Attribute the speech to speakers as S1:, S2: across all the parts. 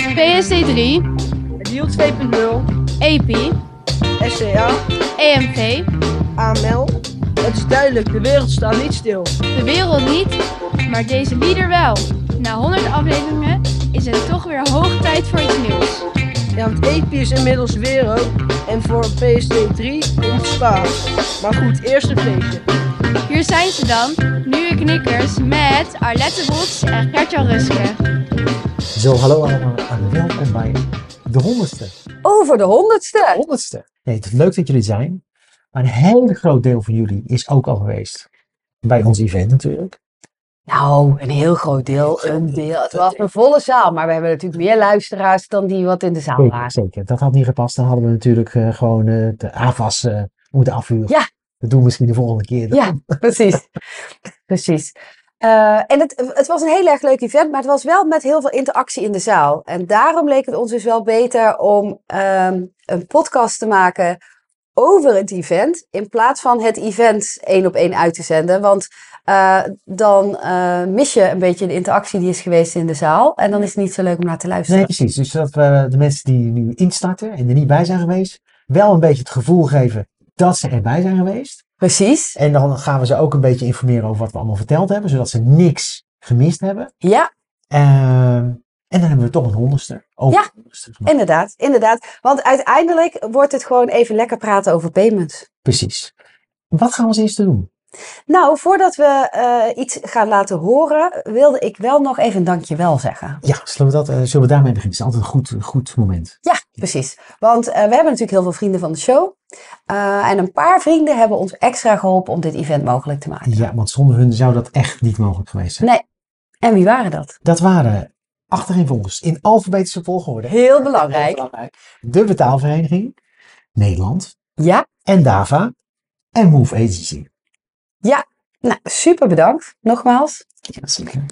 S1: DST3,
S2: Deal 2.0,
S1: EP,
S2: SCA,
S1: E EMV,
S2: AML. Het is duidelijk, de wereld staat niet stil.
S1: de wereld niet, maar deze lieder wel. Na 100 afleveringen is het toch weer hoog tijd voor iets nieuws.
S2: Ja, want AP is inmiddels weer ook. En voor PSD3 komt Spaas. Maar goed, eerst een feestje.
S1: Hier zijn ze dan, nieuwe knikkers met Arlette Bots en Gertjan Ruske.
S3: Zo, hallo allemaal en welkom bij de honderdste.
S4: Over de honderdste.
S3: Honderdste. Nee, het is leuk dat jullie er zijn. Maar een heel groot deel van jullie is ook al geweest. Bij ons event natuurlijk.
S4: Nou, een heel groot deel. Een deel. Het was een volle zaal, maar we hebben natuurlijk meer luisteraars dan die wat in de zaal
S3: Zeker,
S4: waren.
S3: zeker. Dat had niet gepast. Dan hadden we natuurlijk eh, gewoon eh, de AFAS eh, moeten afvuren.
S4: Ja.
S3: Dat doen we misschien de volgende keer.
S4: Ja, precies. Precies. Eh, en het, het was een heel erg leuk event, maar het was wel met heel veel interactie in de zaal. En daarom leek het ons dus wel beter om ehm, een podcast te maken over het event, in plaats van het event één op één uit te zenden. Want eh, dan eh, mis je een beetje de interactie die is geweest in de zaal. En dan is het niet zo leuk om naar te luisteren.
S3: Nee, precies. Dus dat we de mensen die nu instarten en er niet bij zijn geweest, wel een beetje het gevoel geven dat ze erbij zijn geweest.
S4: Precies.
S3: En dan gaan we ze ook een beetje informeren over wat we allemaal verteld hebben, zodat ze niks gemist hebben.
S4: Ja,
S3: Ehm, en dan hebben we toch een honderdste. Over
S4: Ja.
S3: een honderdste gemaakt.
S4: inderdaad, inderdaad. Want uiteindelijk wordt het gewoon even lekker praten over payments.
S3: Precies. Wat gaan we als eerste doen?
S4: Nou, voordat we eh, iets gaan laten horen, wilde ik wel nog even dankjewel zeggen.
S3: Ja, zullen we, dat, eh, zullen we daarmee beginnen? Dat is altijd een goed, goed moment.
S4: Ja, precies. Want eh, we hebben natuurlijk heel veel vrienden van de show. Eh, en een paar vrienden hebben ons extra geholpen om dit event mogelijk te maken.
S3: Ja, want zonder hun zou dat echt niet mogelijk geweest zijn.
S4: Nee. En wie waren dat?
S3: Dat waren achtereenvolgens in alfabetische volgorde.
S4: Heel belangrijk.
S3: Heel belangrijk. De betaalvereniging, Nederland
S4: Ja,
S3: en DAVA en Move Agency.
S4: nou, super bedankt. Nogmaals.
S3: Jazeker.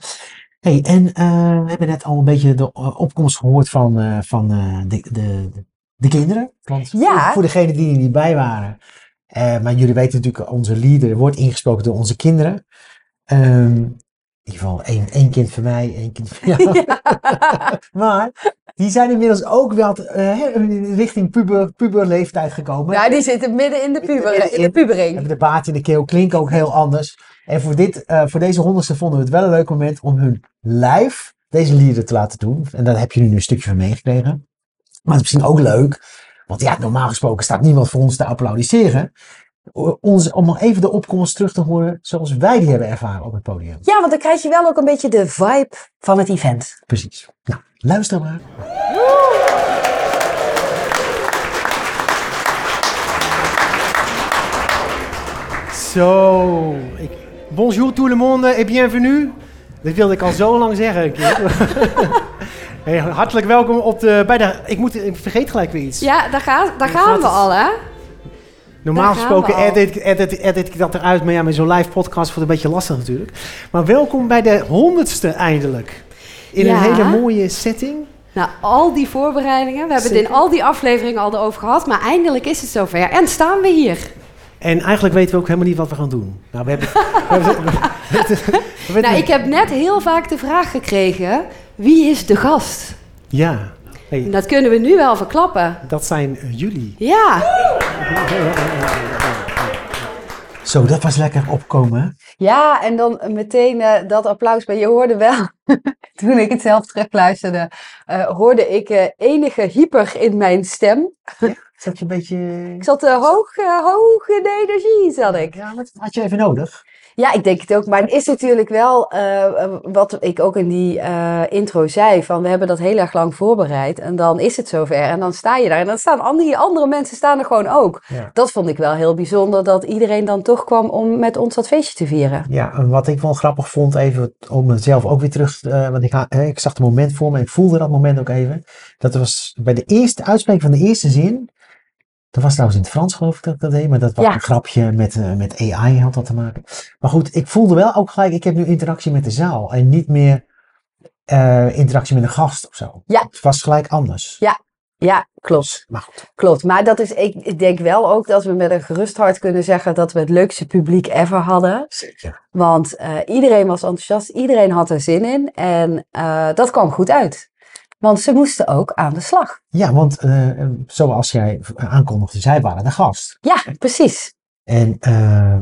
S3: Hey, en eh, we hebben net al een beetje de eh, opkomst gehoord van, eh, van eh, de, de, de kinderen. Want
S4: Ja.
S3: voor, voor degenen die er niet bij waren. eh, maar jullie weten natuurlijk, onze leader wordt ingesproken door onze kinderen. Ehm, in ieder geval één, één kind van mij, één kind van jou. maar die zijn inmiddels ook wel eh, richting puber, puberleeftijd gekomen.
S4: Ja, die zitten midden in de puber, in de
S3: in-
S4: pubering.
S3: hebben de baard in de keel klinken ook heel anders. En voor, dit, eh, voor deze honderdste vonden we het wel een leuk moment om hun live deze liederen te laten doen. En daar heb je nu een stukje van meegekregen. Maar het is misschien ook leuk, want ja, normaal gesproken staat niemand voor ons te applaudisseren. O- Ons, om nog even de opkomst terug te horen zoals wij die hebben ervaren op het podium.
S4: Ja, want dan krijg je wel ook een beetje de vibe van het event.
S3: Precies. Nou, luister maar.
S5: Zo, ik, bonjour tout le monde et bienvenue. Dat wilde ik al zo lang zeggen. een keer. hey, hartelijk welkom op de, bij de... Ik, moet, ik vergeet gelijk weer iets.
S6: Ja, daar, gaat, daar
S5: Ja,
S6: gaan we
S5: gratis.
S6: al, hè?
S5: Normaal
S6: daar gaan
S5: gesproken
S6: we al.
S5: edit, ik- edit, edit ik dat eruit, maar ja, met zo'n live podcast wordt het een beetje lastig natuurlijk. Maar welkom bij de honderdste eindelijk. In
S6: Ja.
S5: een hele mooie setting.
S6: Nou, al die voorbereidingen. We hebben het in al die afleveringen al over gehad. Maar eindelijk is het zover. En staan we hier.
S5: En eigenlijk weten we ook helemaal niet wat we gaan doen. Nou, we hebben... we hebben- we hebben- we hebben-
S6: Nou, ik heb net heel vaak de vraag gekregen: wie is de gast?
S5: Ja,
S6: En
S5: hey,
S6: dat kunnen we nu wel verklappen.
S5: dat zijn eh, jullie.
S6: Ja,
S3: Zo, dat was lekker opkomen. hè?
S4: Ja, en dan meteen eh, dat applaus. Maar je hoorde wel, toen ik het zelf terugluisterde, eh, hoorde ik eh, enige hyper in mijn stem.
S3: Zat je een beetje...
S4: Ik zat eh, hoog, eh, hoog in de energie, zat ik.
S3: Ja, maar dat had je even nodig.
S4: Ja, ik denk het ook. Maar het is natuurlijk wel eh, eh, wat ik ook in die eh, intro zei. Van we hebben dat heel erg lang voorbereid. En dan is het zover. En dan sta je daar. En dan staan andere, andere mensen staan er gewoon ook.
S3: Ja.
S4: Dat vond ik wel heel bijzonder. Dat iedereen dan toch kwam om met ons dat feestje te vieren.
S3: Ja, en wat ik wel grappig vond, even om mezelf ook weer terug, eh, want ik, ha- eh, ik zag het moment voor me en ik voelde dat moment ook even. Dat was bij de eerste uitspraak van de eerste zin, dat was trouwens in het Frans geloof ik dat ik dat deed, maar dat was
S4: Ja.
S3: een grapje met, eh, met AI had dat te maken. Maar goed, ik voelde wel ook gelijk, ik heb nu interactie met de zaal en niet meer eh, interactie met een gast of zo.
S4: Ja.
S3: Het was gelijk anders.
S4: Ja, Ja, klopt.
S3: Maar goed,
S4: Klopt, maar dat is, ik, ik denk wel ook dat we met een gerust hart kunnen zeggen dat we het leukste publiek ever hadden.
S3: zeker.
S4: Want eh, iedereen was enthousiast, iedereen had er zin in en eh, dat kwam goed uit. Want ze moesten ook aan de slag.
S3: Ja, want eh, zoals jij aankondigde, zij waren de gast.
S4: Ja, precies.
S3: En eh,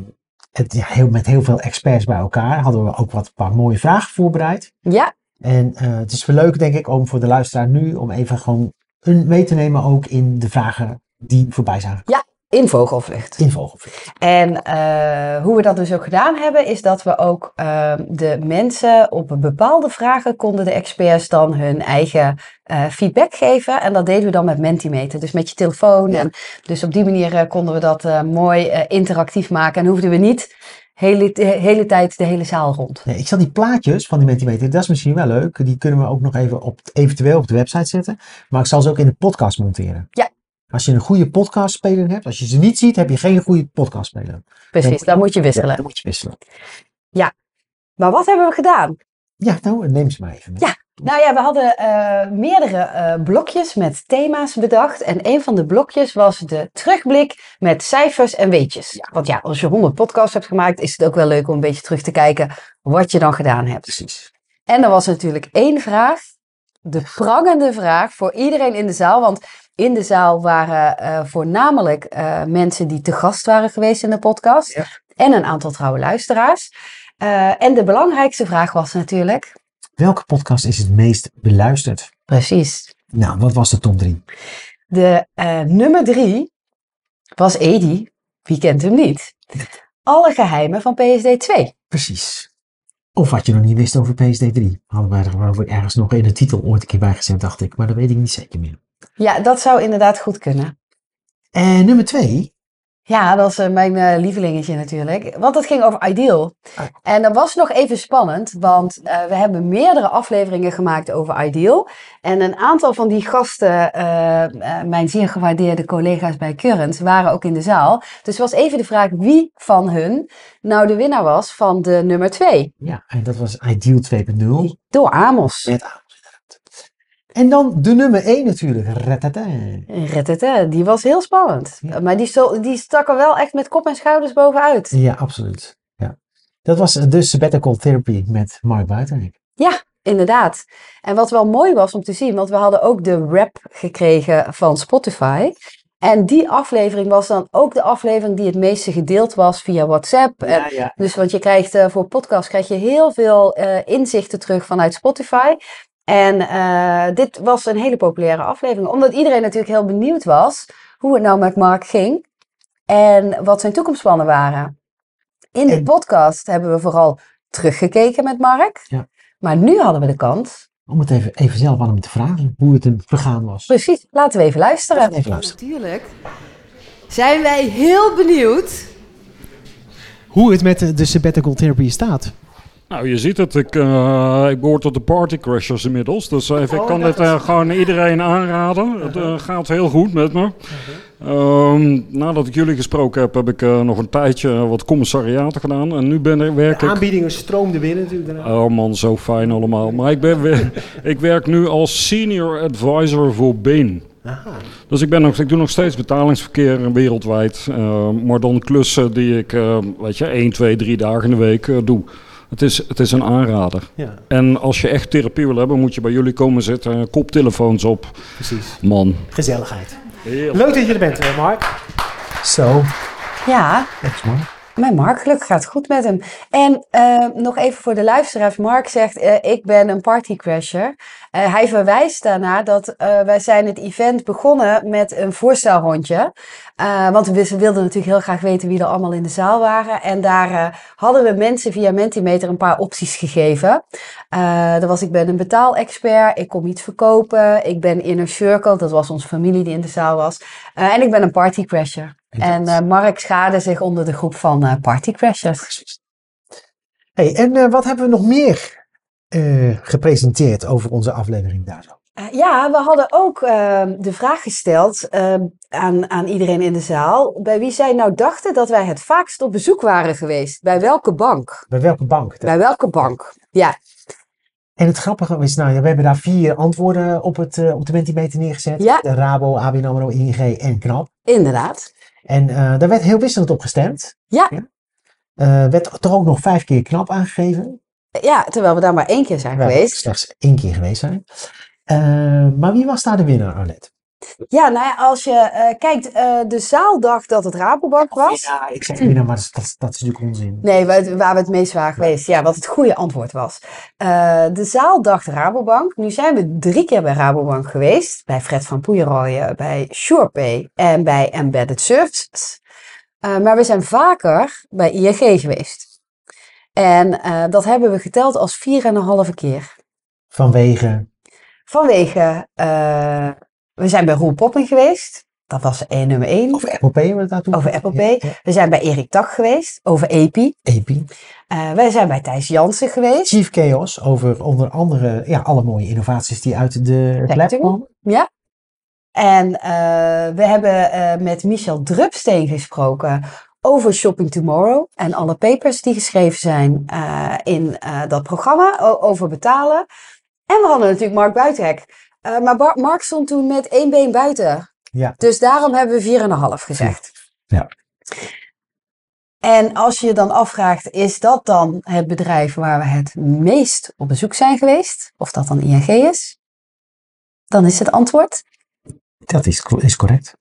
S3: het, ja, heel, met heel veel experts bij elkaar hadden we ook wat een paar mooie vragen voorbereid.
S4: Ja,
S3: En eh, het is wel leuk, denk ik, om voor de luisteraar nu om even gewoon een mee te nemen ook in de vragen die voorbij zijn gekomen
S4: in vogelvlucht.
S3: in Vogelvlucht.
S4: En eh, hoe we dat dus ook gedaan hebben, is dat we ook eh, de mensen op bepaalde vragen konden de experts dan hun eigen eh, feedback geven. En dat deden we dan met Mentimeter, dus met je telefoon. En dus op die manier eh, konden we dat eh, mooi eh, interactief maken en hoefden we niet hele, de hele tijd de hele zaal rond.
S3: Nee, ik zal die plaatjes van die Mentimeter, dat is misschien wel leuk. Die kunnen we ook nog even op, eventueel op de website zetten. Maar ik zal ze ook in de podcast monteren.
S4: Ja.
S3: Als je een goede podcastspeler hebt, als je ze niet ziet, heb je geen goede podcastspeler.
S4: Precies, dan moet je
S3: Ja,
S4: wisselen.
S3: dan moet je wisselen.
S4: Maar wat hebben we gedaan?
S3: Ja, nou, neem ze maar even mee.
S4: Ja. Nou ja, we hadden eh, meerdere eh, blokjes met thema's bedacht. En een van de blokjes was de terugblik met cijfers en weetjes. Want ja, als je 100 podcasts hebt gemaakt, is het ook wel leuk om een beetje terug te kijken wat je dan gedaan hebt.
S3: Precies.
S4: En er was natuurlijk één vraag, de prangende vraag voor iedereen in de zaal. Want in de zaal waren eh, voornamelijk eh, mensen die te gast waren geweest in de podcast.
S2: Ja.
S4: En een aantal trouwe luisteraars. Eh, en de belangrijkste vraag was natuurlijk.
S3: Welke podcast is het meest beluisterd?
S4: Precies,
S3: Nou, wat was de top 3?
S4: De eh, nummer drie was Edi. Wie kent hem niet? Alle geheimen van PSD 2.
S3: Precies. Of wat je nog niet wist over PSD 3. Hadden wij er geloof ik ergens nog in de titel ooit een keer bij gezet, dacht ik. Maar dat weet ik niet zeker meer.
S4: Ja, dat zou inderdaad goed kunnen.
S3: En nummer 2.
S4: Ja, dat is eh, mijn eh, lievelingetje natuurlijk. Want dat ging over Ideal.
S3: Ah.
S4: En dat was nog even spannend, want eh, we hebben meerdere afleveringen gemaakt over Ideal. En een aantal van die gasten, eh, eh, mijn zeer gewaardeerde collega's bij Current, waren ook in de zaal. Dus was even de vraag wie van hun nou de winnaar was van de nummer 2.
S3: Ja, en dat was Ideal 2.0.
S4: Door Amos.
S3: Met Amos, inderdaad. En dan de nummer 1 natuurlijk. Ratata.
S4: Rettete, die was heel spannend.
S3: Ja.
S4: Maar die, sto- die stak er wel echt met kop en schouders bovenuit.
S3: Ja, absoluut. Ja. Dat was eh, dus Sabbatical Therapy met Mark Buitenrijk.
S4: Inderdaad. En wat wel mooi was om te zien, want we hadden ook de rap gekregen van Spotify. En die aflevering was dan ook de aflevering die het meeste gedeeld was via WhatsApp. En
S3: ja.
S4: Dus want je krijgt eh, voor podcast krijg je heel veel eh, inzichten terug vanuit Spotify. En eh, dit was een hele populaire aflevering. Omdat iedereen natuurlijk heel benieuwd was hoe het nou met Mark ging. En wat zijn toekomstplannen waren. In de
S3: En-
S4: podcast hebben we vooral teruggekeken met Mark.
S3: Ja.
S4: Maar nu hadden we de kans.
S3: Om het even, even zelf aan hem te vragen hoe het hem vergaan was.
S4: Precies, laten we even luisteren.
S3: Even luisteren.
S6: Natuurlijk zijn wij heel benieuwd.
S5: Hoe het met eh, de- de sabbatical therapy staat.
S7: Nou, je ziet het. Ik, eh, ik behoor tot de partycrashers inmiddels. Dus eh, ik kan dit eh, gewoon iedereen aanraden. Het eh, gaat heel goed met me. Ehm, nadat ik jullie gesproken heb, heb ik eh, nog een tijdje eh, wat commissariaten gedaan. En nu ben ik, werk
S5: De
S7: ik...
S5: aanbiedingen stroomden binnen natuurlijk. daarna.
S7: Oh man, zo fijn allemaal. Maar ik, ben weer, ik werk nu als senior advisor voor Bain. Dus ik, ben nog, ik doe nog steeds betalingsverkeer wereldwijd. eh, maar dan klussen die ik, eh, weet je, 1, 2, 3 dagen in de week eh, doe. Het is, het is een aanrader.
S5: Ja,
S7: En als je echt therapie wil hebben, moet je bij jullie komen zitten. eh, Koptelefoons op.
S5: precies.
S7: Man.
S5: Gezelligheid. Leuk dat je er bent, eh, Mark.
S3: Zo,
S4: Ja,
S3: echt Mark.
S4: Mijn Mark, gelukkig gaat het goed met hem. En eh, nog even voor de luisteraars. Mark zegt, eh, ik ben een partycrasher. Eh hij verwijst daarna dat eh, wij zijn het event begonnen met een voorstelrondje. Eh, want we ze wilden natuurlijk heel graag weten wie er allemaal in de zaal waren. En daar eh, hadden we mensen via Mentimeter een paar opties gegeven. Eh dat was, ik ben een betaalexpert, ik kom iets verkopen, ik ben Inner Circle, dat was onze familie die in de zaal was. Eh, en ik ben een partycrasher. En eh, Mark schaarde zich onder de groep van eh partycrashers.
S3: Hey, en eh, wat hebben we nog meer eh, gepresenteerd over onze aflevering daar zo?
S4: Eh, ja, we hadden ook eh, de vraag gesteld eh, aan, aan iedereen in de zaal. Bij wie zij nou dachten dat wij het vaakst op bezoek waren geweest. Bij welke bank?
S3: Bij welke bank?
S4: Bij welke bank? Ja,
S3: En het grappige is, nou, ja, we hebben daar vier antwoorden op, het, eh, op de Mentimeter neergezet.
S4: Ja.
S3: De Rabo, ABN AMRO, ING en KNAP.
S4: inderdaad.
S3: En eh, daar werd heel wisselend op gestemd.
S4: Ja.
S3: Eh, werd toch ook nog vijf keer KNAP aangegeven.
S4: Ja, terwijl we daar maar één keer zijn
S3: Waar we
S4: geweest.
S3: slechts één keer geweest zijn. Eh, Eh, maar wie was daar de winnaar, Arlette?
S4: Ja, nou ja, als je eh, kijkt, eh, de zaal dacht dat het Rabobank was.
S3: Ja, ik zeg winnaar, maar dat, is- dat is- dat is natuurlijk onzin.
S4: Nee, waar, het- waar we het meest waren geweest. Ja, wat het goede antwoord was. Eh, de zaal dacht Rabobank. Nu zijn we drie keer bij Rabobank geweest. Bij Fred van Poeierooyen, bij SurePay en bij Embedded Services. Eh, maar we zijn vaker bij ING geweest. En eh, dat hebben we geteld als vier en een halve keer.
S3: Vanwege.
S4: Vanwege, eh, we zijn bij Roel Popping geweest. Dat was eh, nummer één.
S3: Over Apple Pay hebben we het daartoe.
S4: Over Apple Pay.
S3: Ja, ja.
S4: We zijn bij Erik Tak geweest, over EPI.
S3: AP.
S4: Eh, wij zijn bij Thijs Jansen geweest.
S3: Chief Chaos over onder andere ja, alle mooie innovaties die uit de het lab
S4: Factory.
S3: komen.
S4: En eh, we hebben eh, met Michel Drupsteen gesproken over Shopping Tomorrow en alle papers die geschreven zijn eh, in eh, dat programma o- over betalen. En we hadden natuurlijk Mark Buitenhek. Eh, maar Bar- Mark stond toen met één been buiten.
S3: Ja.
S4: Dus daarom hebben we 4,5 gezegd.
S3: Ja.
S4: En als je je dan afvraagt, is dat dan het bedrijf waar we het meest op bezoek zijn geweest? Of dat dan ING is? Dan is het antwoord
S3: Dat is, is correct.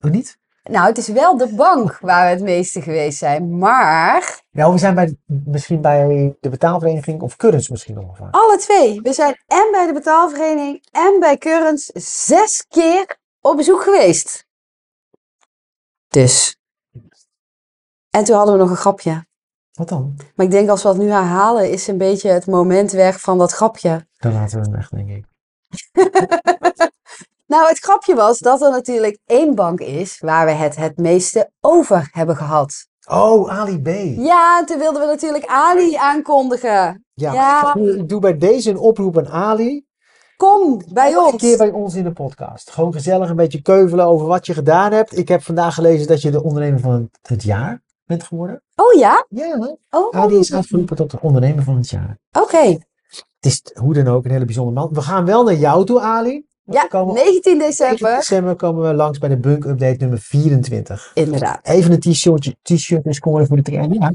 S3: Of niet?
S4: Nou, het is wel de bank waar we het meeste geweest zijn. Maar
S3: Nou, we zijn bij, misschien bij de betaalvereniging of Currents misschien nog wel vaak.
S4: alle twee. We zijn en bij de betaalvereniging en bij Currents zes keer op bezoek geweest. Dus. En toen hadden we nog een grapje.
S3: Wat dan?
S4: Maar ik denk als we dat nu herhalen, is een beetje het moment weg van dat grapje.
S3: Dan laten we hem echt, denk ik.
S4: Nou, het grapje was dat er natuurlijk één bank is waar we het het meeste over hebben gehad.
S3: Oh, Ali B. Ja,
S4: Ja, en toen wilden we natuurlijk Ali aankondigen. ja.
S3: Ik, doe, ik doe bij deze een oproep aan Ali.
S4: Kom bij
S3: Nog Een keer
S4: ons.
S3: bij ons in de podcast. Gewoon gezellig een beetje keuvelen over wat je gedaan hebt. Ik heb vandaag gelezen dat je de ondernemer van het jaar bent geworden.
S4: Oh ja?
S3: Ja, hè?
S4: Oh,
S3: Ali is uitgeroepen tot de ondernemer van het jaar.
S4: Oké,
S3: Het is hoe dan ook een hele bijzondere man. We gaan wel naar jou toe, Ali. Want
S4: ja,
S3: we komen
S4: 19
S3: in
S4: december.
S3: december komen we langs bij de Bunk Update nummer 24.
S4: Inderdaad.
S3: Even een t-shirtje, t-shirt is scoren voor de trein. Ja.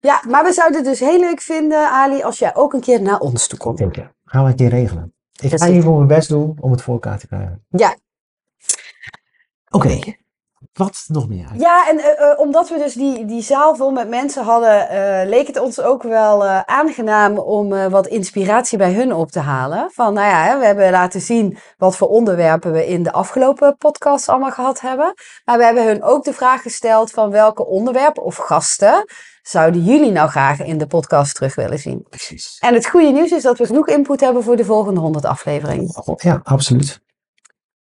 S4: Ja, maar we zouden het dus heel leuk vinden, Ali, als jij ook een keer naar ons toe komt.
S3: Zeker. Gaan we een keer regelen. Ik ga
S4: Precies.
S3: in ieder geval mijn best doen om het voor elkaar te krijgen.
S4: Ja.
S3: Oké. Wat nog meer? eigenlijk?
S4: Ja, en eh, eh, omdat we dus die, die zaal vol met mensen hadden, eh, leek het ons ook wel eh, aangenaam om eh, wat inspiratie bij hun op te halen. Van, nou ja, hè, we hebben laten zien wat voor onderwerpen we in de afgelopen podcast allemaal gehad hebben. Maar we hebben hun ook de vraag gesteld van welke onderwerpen of gasten zouden jullie nou graag in de podcast terug willen zien.
S3: Precies.
S4: En het goede nieuws is dat we genoeg input hebben voor de volgende 100 afleveringen.
S3: Ja, absoluut.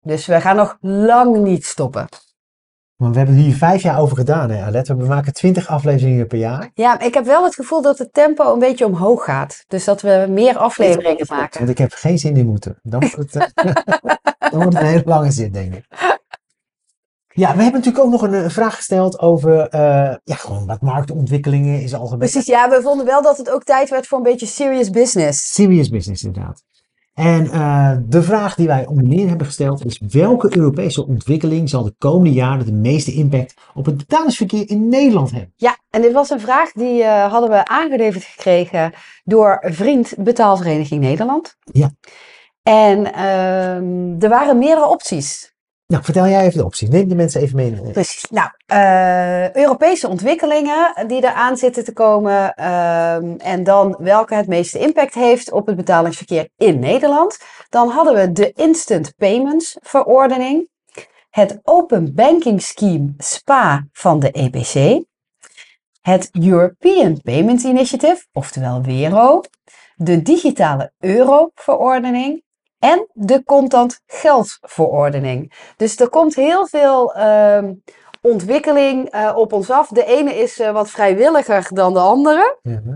S4: Dus we gaan nog lang niet stoppen.
S3: Want we hebben hier vijf jaar over gedaan, hè, Alet. We maken twintig afleveringen per jaar.
S4: Ja, maar ik heb wel het gevoel dat het tempo een beetje omhoog gaat. Dus dat we meer afleveringen maken.
S3: Want ik heb geen zin in moeten. Dan wordt het, eh, dan wordt het een hele lange zin, denk ik. Ja, we hebben natuurlijk ook nog een, eh, vraag gesteld over eh, ja, gewoon wat marktontwikkelingen is algemeen.
S4: Precies, ja, we vonden wel dat het ook tijd werd voor een beetje serious business.
S3: Serious business, inderdaad. En eh, de vraag die wij onder meer hebben gesteld is: welke Europese ontwikkeling zal de komende jaren de meeste impact op het betalingsverkeer in Nederland hebben?
S4: Ja, en dit was een vraag die eh, hadden we aangeleverd gekregen door vriend Betaalvereniging Nederland.
S3: Ja.
S4: En ehm, er waren meerdere opties.
S3: Nou, vertel jij even de optie. Neem de mensen even mee.
S4: Precies. Nou, eh, Europese ontwikkelingen die eraan zitten te komen. ehm, en dan welke het meeste impact heeft op het betalingsverkeer in Nederland. Dan hadden we de Instant Payments Verordening. Het Open Banking Scheme SPA van de EPC. Het European Payments Initiative, oftewel WERO. De Digitale Euro-verordening. En de Contant Geldverordening. Dus er komt heel veel ehm, ontwikkeling eh, op ons af. De ene is eh, wat vrijwilliger dan de andere.
S3: Ja, hè?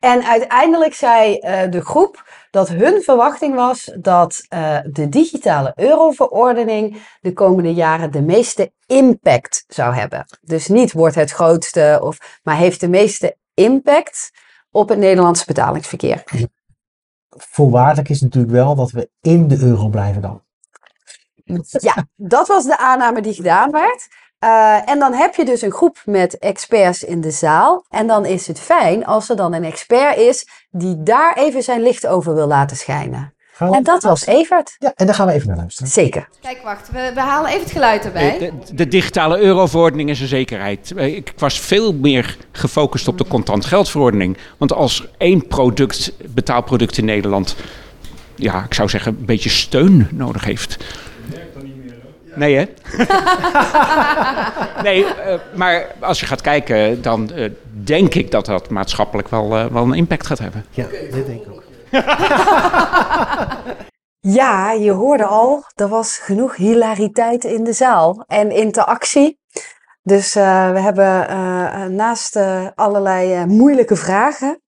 S4: En uiteindelijk zei eh, de groep dat hun verwachting was dat eh, de digitale euroverordening de komende jaren de meeste impact zou hebben. Dus niet wordt het grootste, of, maar heeft de meeste impact op het Nederlandse betalingsverkeer.
S3: Voorwaardelijk is natuurlijk wel dat we in de euro blijven dan.
S4: Ja, dat was de aanname die gedaan werd. Eh, en dan heb je dus een groep met experts in de zaal. En dan is het fijn als er dan een expert is die daar even zijn licht over wil laten schijnen.
S3: Gaan we-
S4: En dat was Evert.
S3: Ja, en daar gaan we even naar luisteren.
S4: Zeker.
S6: Kijk, wacht. We, we halen even het geluid erbij.
S8: Eh, De, de digitale euroverordening is een zekerheid. Eh, Ik was veel meer gefocust op de contant geldverordening. Want als er één product, betaalproduct in Nederland, ja, ik zou zeggen, een beetje steun nodig heeft. Nee, hè? nee, eh, maar als je gaat kijken, dan eh, denk ik dat dat maatschappelijk wel, eh, wel een impact gaat hebben.
S5: Ja, dit denk ik ook.
S4: Ja, je hoorde al, er was genoeg hilariteit in de zaal en interactie. Dus eh, we hebben eh, eh, naast eh, allerlei eh, moeilijke vragen,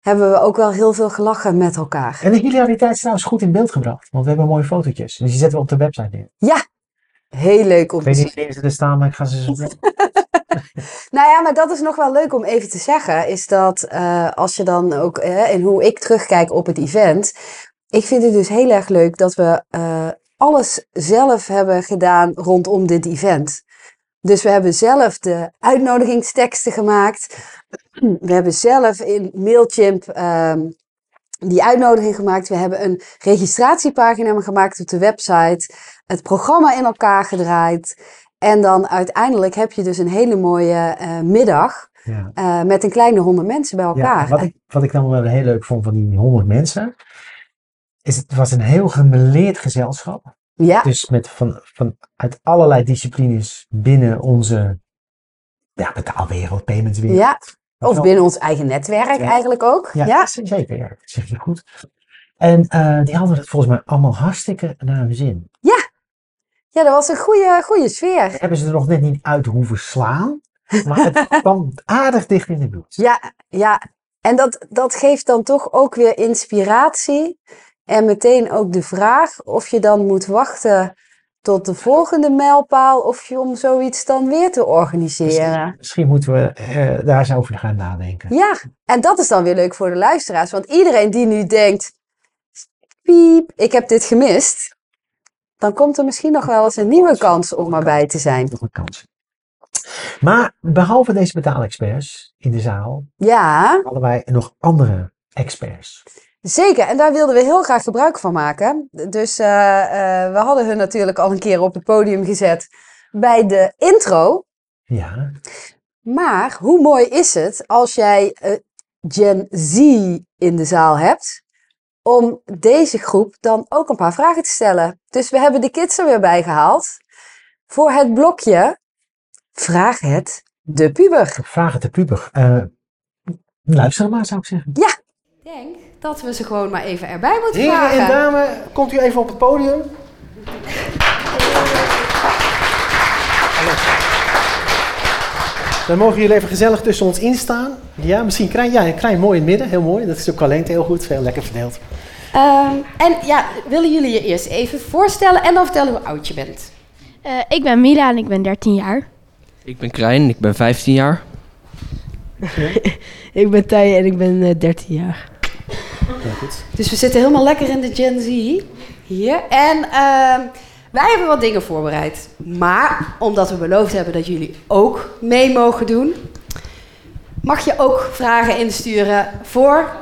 S4: hebben we ook wel heel veel gelachen met elkaar.
S3: En de hilariteit is trouwens goed in beeld gebracht. Want we hebben mooie fotootjes. Dus die zetten we op de website neer.
S4: Heel leuk om
S3: Ik
S4: te
S3: weet
S4: zien.
S3: niet wanneer ze er staan, maar ik ga ze zo...
S4: Nou ja, maar dat is nog wel leuk om even te zeggen. Is dat eh, als je dan ook, eh, en hoe ik terugkijk op het event. Ik vind het dus heel erg leuk dat we eh, alles zelf hebben gedaan rondom dit event. Dus we hebben zelf de uitnodigingsteksten gemaakt. We hebben zelf in Mailchimp ehm, die uitnodiging gemaakt. We hebben een registratiepagina gemaakt op de website. Het programma in elkaar gedraaid. En dan uiteindelijk heb je dus een hele mooie eh, middag
S3: Ja.
S4: eh, met een kleine honderd mensen bij
S3: Ja,
S4: elkaar.
S3: wat, ik, wat ik dan wel heel leuk vond van die 100 mensen, is het was een heel gemeleerd gezelschap.
S4: Ja,
S3: Dus met van, van uit allerlei disciplines binnen onze ja, betaalwereld, paymentswereld.
S4: ja.
S3: Weet je
S4: Of
S3: wel?
S4: binnen ons eigen netwerk
S3: Ja.
S4: eigenlijk ook. Ja.
S3: Ja, z- zeker. Ja, dat zeg je goed. En eh, die hadden het volgens mij allemaal hartstikke naar hun zin.
S4: ja, dat was een goede, goede sfeer.
S3: Hebben ze er nog net niet uit hoeven slaan, maar het kwam aardig dicht in de buurt.
S4: Ja, ja. en dat, dat geeft dan toch ook weer inspiratie. En meteen ook de vraag of je dan moet wachten tot de volgende mijlpaal of je om zoiets dan weer te organiseren.
S3: Misschien moeten we eh, daar eens over gaan nadenken.
S4: Ja, en dat is dan weer leuk voor de luisteraars. Want iedereen die nu denkt, piep, ik heb dit gemist. Dan komt er misschien nog wel eens een nieuwe kans om erbij te zijn.
S3: nog een kans. Maar behalve deze betaalexperts in de zaal,
S4: Ja,
S3: hadden wij nog andere experts.
S4: zeker. En daar wilden we heel graag gebruik van maken. Dus eh, eh, we hadden hun natuurlijk al een keer op het podium gezet bij de intro.
S3: Ja,
S4: Maar hoe mooi is het als jij eh, Gen Z in de zaal hebt, om deze groep dan ook een paar vragen te stellen. Dus we hebben de kids er weer bij gehaald voor het blokje Vraag het de puber.
S3: vragen te puber. Eh, luister maar, zou ik zeggen.
S6: Ik denk dat we ze gewoon maar even erbij moeten
S5: Heren en
S6: vragen.
S5: dames, komt u even op het podium. Dan mogen jullie even gezellig tussen ons instaan. Ja, misschien klein, ja, klein mooi in het midden, heel mooi. Dat is ook talent heel goed, heel lekker verdeeld.
S6: Ehm, en ja, willen jullie je eerst even voorstellen en dan vertellen hoe oud je bent?
S1: Eh, ik ben Mila en ik ben 13 jaar.
S9: Ik ben Krijn, ik ben 15 jaar.
S10: Ik ben Thij en ik ben eh, 13 jaar.
S6: Dus we zitten helemaal lekker in de Gen Z hier. En ehm, wij hebben wat dingen voorbereid. Maar omdat we beloofd hebben dat jullie ook mee mogen doen, mag je ook vragen insturen voor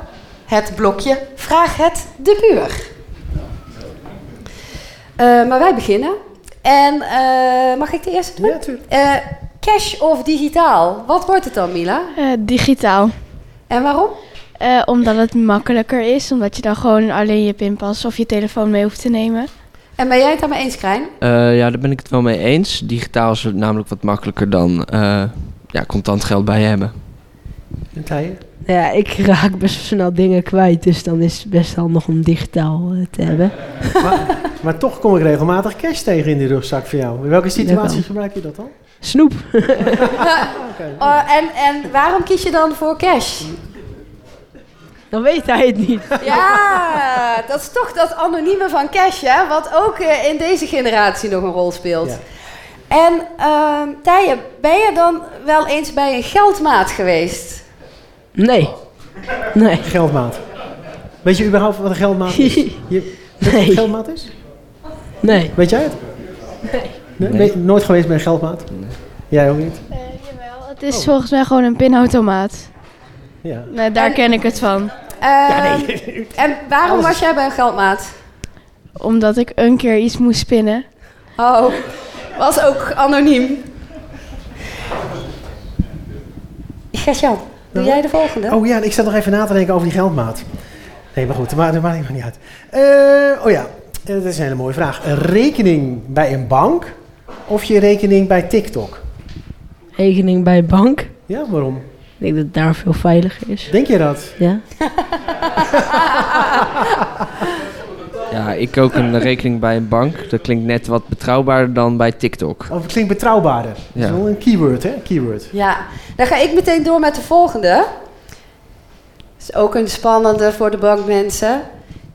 S6: het blokje Vraag het de buur. Eh, maar wij beginnen. En eh, mag ik de eerste doen?
S5: Ja, tuurlijk.
S6: Eh, cash of digitaal? Wat wordt het dan, Mila?
S1: Eh, digitaal.
S6: En waarom?
S1: Eh, omdat het makkelijker is, omdat je dan gewoon alleen je pinpas of je telefoon mee hoeft te nemen.
S6: En ben jij het daarmee eens, Krijn?
S9: Eh, ja, daar ben ik het wel mee eens. Digitaal is het namelijk wat makkelijker dan eh, ja, contant geld bij je hebben.
S5: En Thij?
S10: Nou ja, ik raak best wel snel dingen kwijt, dus dan is het best handig om digitaal eh, te hebben.
S5: Maar, maar toch kom ik regelmatig cash tegen in die rugzak voor jou. In welke situatie
S10: Jawel.
S5: gebruik je dat dan?
S10: Snoep.
S6: Oh, en, en waarom kies je dan voor cash?
S10: Dan weet hij het niet.
S6: Ja, dat is toch dat anonieme van cash, hè? Wat ook eh, in deze generatie nog een rol speelt.
S5: Ja.
S6: En ehm Thije, ben je dan wel eens bij een geldmaat geweest?
S10: Nee. Nee.
S5: Geldmaat. Weet je überhaupt wat een geldmaat is? Je, weet je wat een
S10: Nee.
S5: geldmaat is?
S10: Nee.
S5: Weet jij het? Nee. Ben je nooit geweest bij een geldmaat? Jij ook niet?
S1: jawel, het is volgens mij gewoon een pinautomaat.
S5: Ja.
S1: Nee, daar ken ik het van.
S6: Ehm, En waarom was jij bij een geldmaat?
S1: Omdat ik een keer iets moest spinnen.
S6: Oh, was ook anoniem. Gert-Jan, doe jij de volgende?
S3: Oh ja, en ik zat nog even na te denken over die geldmaat. Nee, maar goed, dat maakt, dat maakt niet uit. Eh, oh ja, eh, dat is een hele mooie vraag. Een rekening bij een bank of je rekening bij TikTok?
S10: Rekening bij bank.
S3: Ja, waarom?
S10: Ik denk dat het daar veel veiliger is.
S3: Denk je dat?
S10: Ja.
S9: Ja, ik ook een rekening bij een bank. Dat klinkt net wat betrouwbaarder dan bij TikTok.
S3: Of Oh, het klinkt betrouwbaarder. Dat
S9: Ja.
S3: is wel een keyword, hè? Keyword.
S6: Ja, dan ga ik meteen door met de volgende. is ook een spannende voor de bankmensen.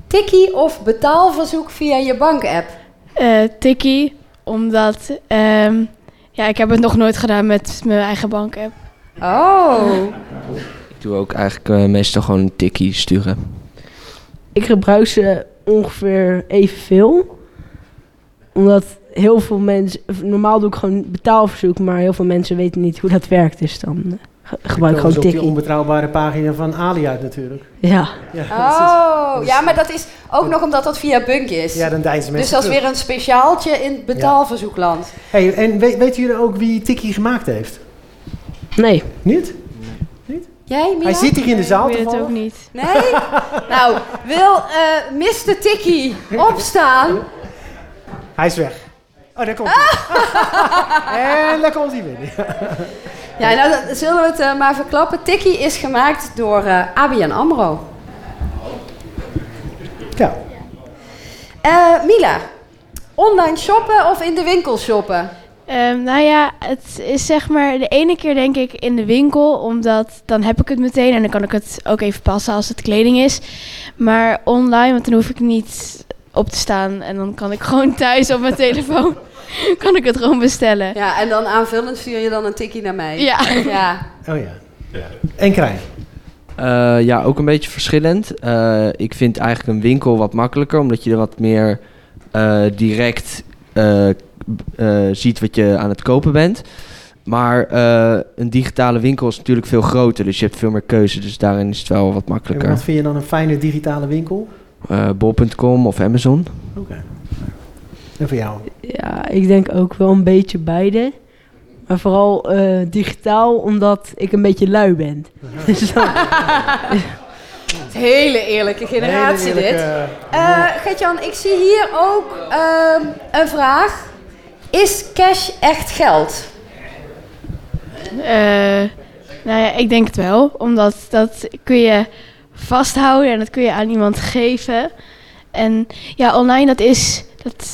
S6: Tikkie of betaalverzoek via je bankapp?
S1: Eh tikkie, omdat ehm, ja, ik heb het nog nooit gedaan met mijn eigen bankapp.
S6: Oh.
S9: Ik doe ook eigenlijk eh, meestal gewoon een tikkie sturen.
S10: Ik gebruik ze ongeveer evenveel. Omdat heel veel mensen... Normaal doe ik gewoon betaalverzoek, maar heel veel mensen weten niet hoe dat werkt. Dus dan eh, ge- gebruik ik
S3: Komen ze
S10: gewoon
S3: op die
S10: tikkie.
S3: onbetrouwbare pagina van Ali uit natuurlijk.
S10: Ja.
S3: Ja,
S6: Oh, ja, maar dat is ook nog omdat dat via Bunk is.
S3: ja dan deinzen
S6: dus
S3: mensen
S6: dat is
S3: terug.
S6: weer een speciaaltje in betaalverzoekland.
S3: Hey, en we- weten jullie ook wie Tikkie gemaakt heeft?
S10: Nee.
S3: Niet?
S6: Jij, Mia?
S3: Hij zit hier in de zaal
S1: ik weet het ook
S3: toevallig.
S1: niet.
S6: Nee? nou, wil eh Mr. Tikkie opstaan?
S3: Hij is weg. Oh, daar komt hij. en daar komt hij weer.
S6: Ja, nou, dan zullen we het eh, maar verklappen. Tikkie is gemaakt door eh, ABN AMRO.
S3: Ja.
S6: Eh, Mila, online shoppen of in de winkel shoppen?
S1: Ehm, nou ja, het is zeg maar de ene keer denk ik in de winkel, omdat dan heb ik het meteen en dan kan ik het ook even passen als het kleding is. Maar online, want dan hoef ik niet op te staan en dan kan ik gewoon thuis op mijn telefoon, kan ik het gewoon bestellen.
S6: Ja, en dan aanvullend stuur je dan een tikkie naar mij.
S1: Ja.
S6: Ja.
S3: Oh ja. En Krijn.
S9: Eh, ja, ook een beetje verschillend. Eh, ik vind eigenlijk een winkel wat makkelijker, omdat je er wat meer eh, direct eh, b- eh, ziet wat je aan het kopen bent. Maar eh, een digitale winkel is natuurlijk veel groter, dus je hebt veel meer keuze. Dus daarin is het wel wat
S3: En
S9: makkelijker.
S3: wat vind je dan een fijne digitale winkel?
S9: Eh, Bol.com of Amazon.
S3: Oké. En voor jou?
S10: Ja, ik denk ook wel een beetje beide. Maar vooral eh, digitaal, omdat ik een beetje lui ben. Dus dan-
S6: Het hele eerlijke generatie
S3: Hele
S6: dit.
S3: eerlijke-
S6: Eh Gert-Jan, ik zie hier ook ehm, een vraag. Is cash echt geld?
S1: Eh, nou ja, ik denk het wel, omdat dat kun je vasthouden en dat kun je aan iemand geven. En ja, online dat is, dat,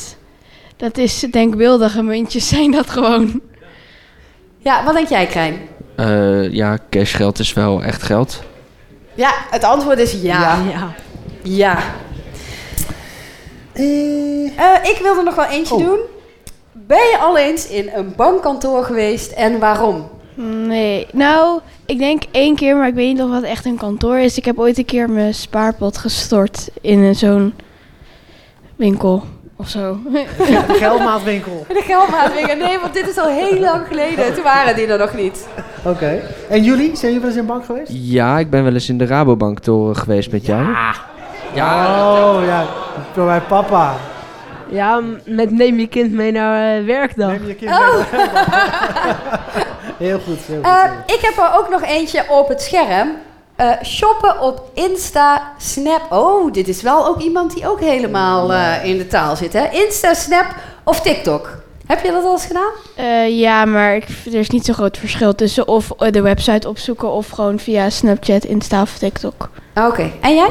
S1: dat is denkbeeldige muntjes zijn dat gewoon.
S6: Ja, wat denk jij, Krijn?
S9: Eh, ja, cashgeld is wel echt geld.
S6: Ja, het antwoord is ja. Ja.
S10: ja.
S3: Eh,
S6: Eh, ik wil er nog wel eentje
S3: Oh.
S6: doen. Ben je al eens in een bankkantoor geweest en waarom?
S1: Nee, nou, ik denk één keer, maar ik weet niet of het echt een kantoor is. Ik heb ooit een keer mijn spaarpot gestort in een- zo'n winkel of zo.
S3: de geldmaatwinkel.
S6: De geldmaatwinkel. Nee, want dit is al heel lang geleden. Toen waren die er nog niet.
S3: Oké. En jullie? Zijn jullie wel eens in een bank geweest?
S9: Ja, ik ben wel eens in de Rabobank-toren geweest met jou.
S3: Oh ja, door mijn papa.
S10: ja, met neem je kind mee naar eh, werkdag.
S3: Neem je kind mee. Heel goed. Heel goed.
S6: Eh, ik heb er ook nog eentje op het scherm. Eh, shoppen op Insta, Snap. Oh, dit is wel ook iemand die ook helemaal eh, in de taal zit, hè? Insta, Snap of TikTok. Heb je dat al eens gedaan?
S1: Eh, ja, maar ik, er is niet zo'n groot verschil tussen of eh, de website opzoeken of gewoon via Snapchat, Insta of TikTok.
S6: Ah, Oké. En jij?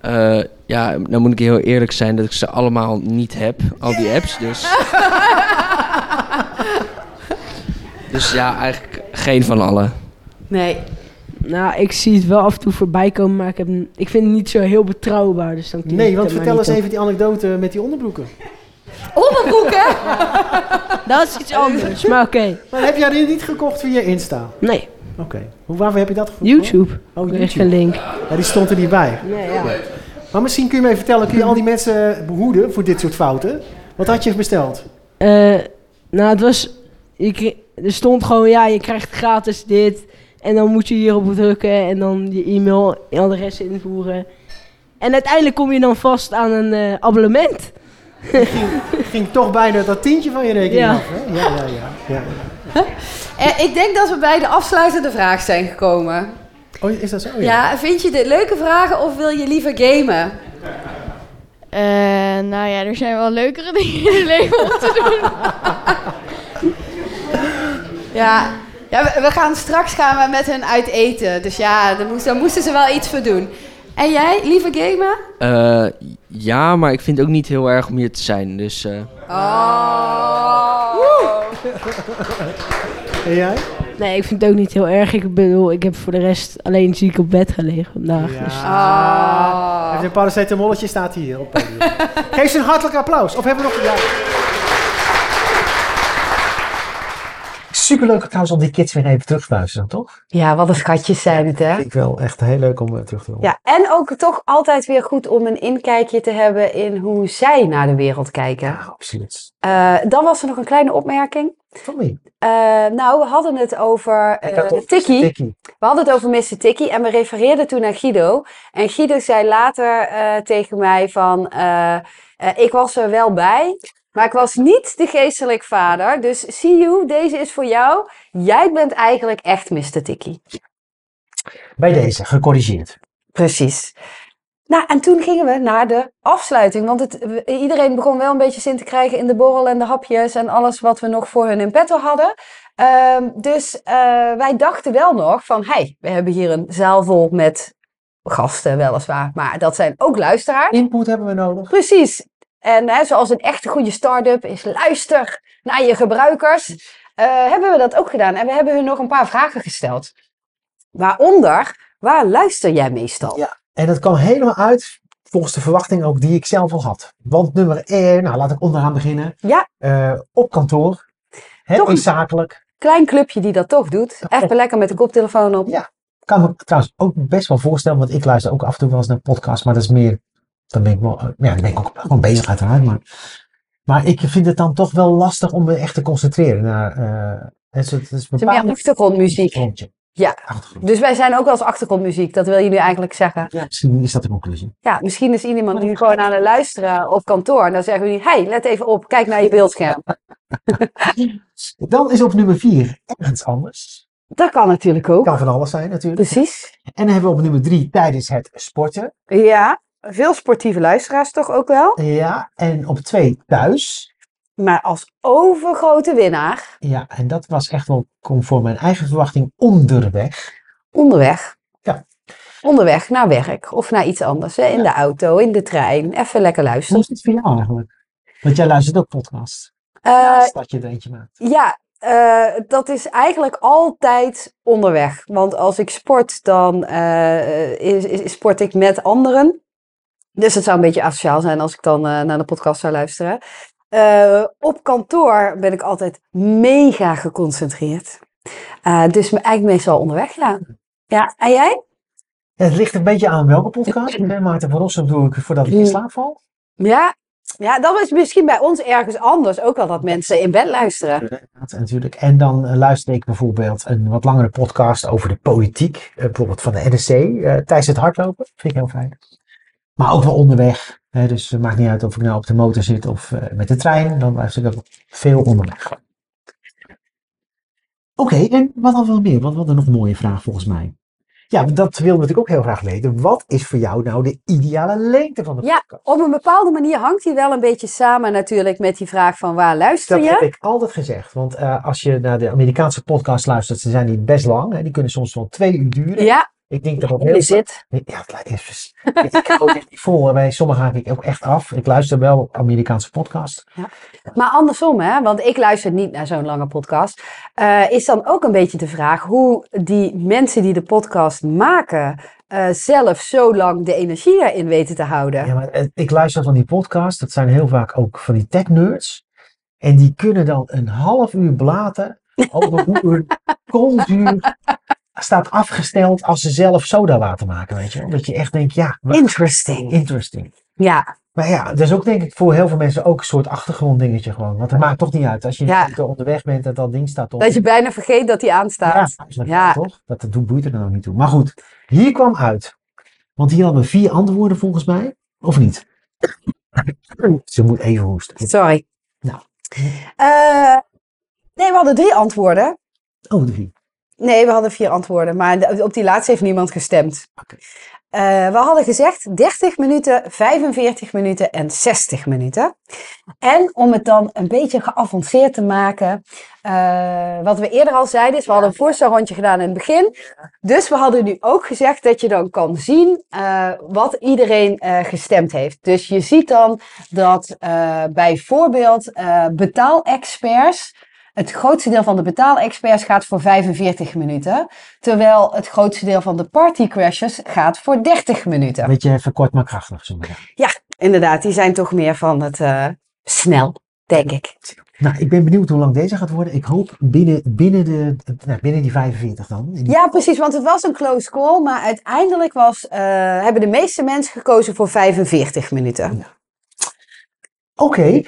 S9: Eh, ja, nou moet ik heel eerlijk zijn dat ik ze allemaal niet heb, al die apps. Dus, dus ja, eigenlijk geen van alle.
S6: Nee.
S10: Nou, ik zie het wel af en toe voorbij komen, maar ik, heb, n- ik vind het niet zo heel betrouwbaar. Dus dan klik ik
S3: Nee, want
S10: er maar
S3: vertel eens
S10: niet op.
S3: even die anekdote met die onderbroeken.
S6: Onderbroeken?
S10: Dat is iets anders, maar oké.
S3: Maar heb jij die niet gekocht via Insta?
S10: Nee,
S3: Oké. Hoe Waarvoor heb je dat gekocht?
S10: YouTube.
S3: Oh,
S10: Er is
S3: YouTube.
S10: geen link.
S3: Ja, die stond er niet bij.
S10: Nee, ja.
S3: Maar misschien kun je mij vertellen, kun je al die mensen eh, behoeden voor dit soort fouten? Wat had je besteld?
S10: Eh, nou, het was. Je kri- er stond gewoon, ja, je krijgt gratis dit. En dan moet je hierop drukken en dan je e-mailadres invoeren. En uiteindelijk kom je dan vast aan een eh, abonnement.
S5: ging, ging toch bijna dat tientje van je rekening
S6: Ja.
S5: af. Hè? Ja, ja, ja. ja.
S6: Eh, ik denk dat we bij de afsluitende vraag zijn gekomen.
S5: Oh, is dat zo? Ja.
S6: Ja, vind je dit leuke vragen of wil je liever gamen?
S1: Eh, nou ja, er zijn wel leukere dingen in het leven om te doen.
S6: Ja, ja we, we gaan straks gaan we met hun uit eten. Dus ja, daar, moest, daar moesten ze wel iets voor doen. En jij, liever gamen?
S9: Eh, ja, maar ik vind het ook niet heel erg om hier te zijn. Dus eh,
S5: En jij?
S10: Nee, ik vind het ook niet heel erg. Ik bedoel, ik heb voor de rest alleen ziek op bed gelegen vandaag.
S5: Ja.
S10: Dus
S5: Hij heeft Een paracetamolletje staat hier op het podium. Geef ze een hartelijk applaus. Of hebben we nog... Ja.
S3: Superleuk trouwens om die kids weer even terug te luisteren, toch?
S4: Ja, wat een schatjes zijn het, hè?
S3: Vind ik wel echt heel leuk om eh, terug te horen.
S4: Ja, en ook toch altijd weer goed om een inkijkje te hebben in hoe zij naar de wereld kijken.
S3: Absoluut.
S4: Eh, dan was er nog een kleine opmerking.
S3: Tommy.
S4: Eh, nou, we hadden het over eh,
S3: ik had toch
S4: Tikkie.
S3: Tikkie.
S4: We hadden het over Mr. Tikkie en we refereerden toen naar Guido. En Guido zei later eh, tegen mij van, eh, eh, ik was er wel bij, maar ik was niet de geestelijk vader. Dus see you, deze is voor jou. Jij bent eigenlijk echt Mr. Tikkie.
S3: Bij deze, gecorrigeerd.
S4: Precies. Nou, en toen gingen we naar de afsluiting. Want het, we- iedereen begon wel een beetje zin te krijgen in de borrel en de hapjes en alles wat we nog voor hun in petto hadden. Ehm, dus eh, wij dachten wel nog van, hé, hey, we hebben hier een zaal vol met gasten weliswaar. Maar dat zijn ook luisteraars.
S3: Input hebben we nodig.
S4: Precies. En hè, zoals een echte goede start-up is luister naar je gebruikers. eh, hebben we dat ook gedaan. En we hebben hun nog een paar vragen gesteld. Waaronder, waar luister jij meestal?
S3: Ja. En dat kwam helemaal uit volgens de verwachting ook die ik zelf al had. Want nummer 1, nou laat ik onderaan beginnen.
S4: Ja.
S3: Eh, op kantoor. Het
S4: Toch-
S3: is zakelijk.
S4: klein clubje die dat toch doet.
S3: Dat
S4: Even
S3: klopt.
S4: lekker met de koptelefoon op.
S3: Ja. Kan me trouwens ook best wel voorstellen, want ik luister ook af en toe wel eens naar podcasts, maar dat is meer, dan ben ik wel, eh, ja, dan ben ik ook gewoon bezig uiteraard, maar, maar ik vind het dan toch wel lastig om me echt te concentreren naar, eh het is, het is
S4: Het is meer
S3: bepaalde
S4: achtergrondmuziek.
S3: Achtergrondje.
S4: Ja.
S3: Achtergrond.
S4: Dus wij zijn ook wel eens achtergrondmuziek, dat wil je nu eigenlijk zeggen.
S3: Ja, misschien is dat de conclusie.
S4: Ja, misschien is iemand nu gewoon aan het luisteren op kantoor. En dan zeggen we nu, hey, let even op, kijk naar je beeldscherm.
S3: Dan is op nummer 4 ergens anders.
S4: Dat kan natuurlijk ook.
S3: Kan van alles zijn natuurlijk.
S4: Precies.
S3: En dan hebben we op nummer 3 tijdens het sporten.
S4: Ja, veel sportieve luisteraars toch ook wel.
S3: Ja, en op 2 thuis.
S4: Maar als overgrote winnaar,
S3: Ja, en dat was echt wel conform mijn eigen verwachting onderweg.
S4: onderweg.
S3: Ja.
S4: Onderweg naar werk of naar iets anders. Hè? In de auto, in de trein. Even lekker
S3: Hoe
S4: luisteren.
S3: is het voor jou eigenlijk? Want jij luistert ook podcasts.
S4: Eh,
S3: Naast dat je er eentje maakt.
S4: Ja, eh, dat is eigenlijk altijd onderweg. Want als ik sport, dan eh, is, is- sport ik met anderen. Dus het zou een beetje asociaal zijn als ik dan eh, naar de podcast zou luisteren. Eh, op kantoor ben ik altijd mega geconcentreerd. Eh, dus me- eigenlijk meestal onderweg, ja. Ja, en jij?
S3: Ja, het ligt een beetje aan welke podcast. Ik ben Maarten van Rossum doe ik voordat ik in slaap val.
S4: Ja. Ja, dat is misschien bij ons ergens anders ook wel dat mensen in bed luisteren.
S3: Inderdaad, Natuurlijk. En dan eh, luisterde ik bijvoorbeeld een wat langere podcast over de politiek. eh, bijvoorbeeld van de NSC eh, tijdens het hardlopen. Vind ik heel fijn. Maar ook wel onderweg. Hè, dus het maakt niet uit of ik nou op de motor zit of eh, met de trein. Dan luister ik ook veel onderweg. Oké, en wat dan wel meer? Want wat een nog mooie vraag volgens mij. Ja, want dat wilde ik ook heel graag weten. Wat is voor jou nou de ideale lengte van de
S4: Ja,
S3: podcast?
S4: op een bepaalde manier hangt die wel een beetje samen natuurlijk met die vraag van waar luister
S3: Dat
S4: je?
S3: heb ik altijd gezegd. Want eh, als je naar de Amerikaanse podcast luistert, ze zijn die best lang. Hè, die kunnen soms wel twee uur duren.
S4: Ja,
S3: Ik denk dat ook
S4: je
S3: heel
S4: zit.
S3: Ja, het lijkt is. dus- Ik hou dit niet vol. Bij sommigen haak ik ook echt af. Ik luister wel Amerikaanse podcast.
S4: Maar andersom, hè, want ik luister niet naar zo'n lange podcast. eh, is dan ook een beetje de vraag hoe die mensen die de podcast maken. eh, zelf zo lang de energie erin weten te houden.
S3: Ja, maar eh, ik luister van die podcast. Dat zijn heel vaak ook van die tech nerds. En die kunnen dan een half uur blaten over hoe hun koolzuur staat afgesteld als ze zelf sodawater maken, weet je wel. Dat je echt denkt, ja, wa-
S4: Interesting.
S3: interesting.
S4: Ja,
S3: Maar ja, dat is ook denk ik voor heel veel mensen ook een soort achtergronddingetje gewoon. Want het maakt toch niet uit als je
S4: Ja.
S3: er onderweg bent dat dat ding staat op.
S4: dat je bijna vergeet dat die
S3: Ja,
S4: aanstaat.
S3: dat is leuk,
S4: Ja.
S3: toch? Dat, dat doet boeit er dan ook niet toe. Maar goed, hier kwam uit. Want hier hadden we vier antwoorden volgens mij. Of niet? Ze moet even hoesten.
S4: Sorry.
S3: Nou.
S4: Eh, nee, we hadden drie antwoorden.
S3: Oh, drie.
S4: Nee, we hadden vier antwoorden, maar de- op die laatste heeft niemand gestemd. Eh, we hadden gezegd 30 minuten, 45 minuten en 60 minuten. En om het dan een beetje geavanceerd te maken, eh, wat we eerder al zeiden, is we hadden een voorstelrondje gedaan in het begin. Dus we hadden nu ook gezegd dat je dan kan zien eh, wat iedereen eh, gestemd heeft. Dus je ziet dan dat eh, bijvoorbeeld eh betaalexperts het grootste deel van de betaalexperts gaat voor 45 minuten. Terwijl het grootste deel van de partycrashers gaat voor 30 minuten.
S3: Weet je, even kort maar krachtig. Zo maar.
S4: Ja, inderdaad. Die zijn toch meer van het eh, snel, denk ik.
S3: nou, ik ben benieuwd hoe lang deze gaat worden. Ik hoop binnen, binnen, de, nou, binnen die 45 dan. In die-
S4: Ja, precies. Want het was een close call. Maar uiteindelijk was, eh, hebben de meeste mensen gekozen voor 45 minuten.
S3: Oké.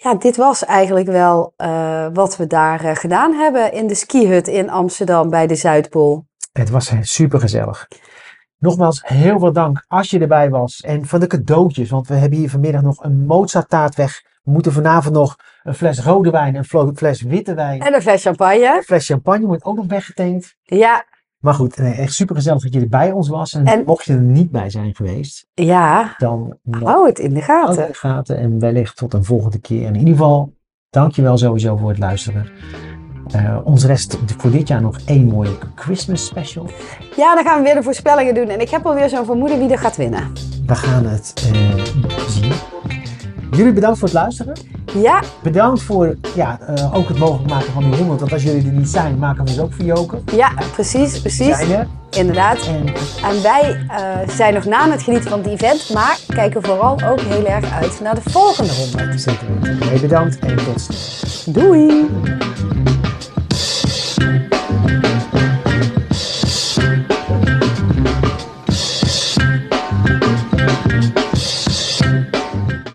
S4: Ja, dit was eigenlijk wel eh, wat we daar eh, gedaan hebben in de skihut in Amsterdam bij de Zuidpool.
S3: Het was super gezellig. Nogmaals, heel veel dank als je erbij was. En van de cadeautjes, want we hebben hier vanmiddag nog een Mozarttaart weg. We moeten vanavond nog een fles rode wijn, een flo- fles witte wijn,
S4: En een fles champagne.
S3: een fles champagne wordt ook nog weggetankt.
S4: Ja,
S3: Maar goed, nee, echt super gezellig dat je er bij ons was. En,
S4: En- Oh.
S3: mocht je er niet bij zijn geweest,
S4: ja.
S3: dan nog
S4: Hou het in de
S3: ook
S4: gaten.
S3: in de gaten. En wellicht tot een volgende keer. En in ieder geval, dankjewel sowieso voor het luisteren. Eh, ons rest voor dit jaar nog één mooie Christmas special.
S4: Ja, dan gaan we weer de voorspellingen doen. En ik heb alweer zo'n vermoeden wie er gaat winnen.
S3: We gaan het eh, zien. Jullie bedankt voor het luisteren.
S4: Ja,
S3: Bedankt voor ja, eh, ook het mogelijk maken van die 100. Want als jullie er niet zijn, maken we ze ook voor Joken.
S4: ja, precies,
S3: Die
S4: precies.
S3: Zijn er.
S4: Inderdaad.
S3: En
S4: En wij eh, zijn nog na het genieten van het event, maar kijken vooral ook heel erg uit naar de volgende ronde.
S3: zeker weten. Oké, Bedankt en tot snel.
S4: Doei!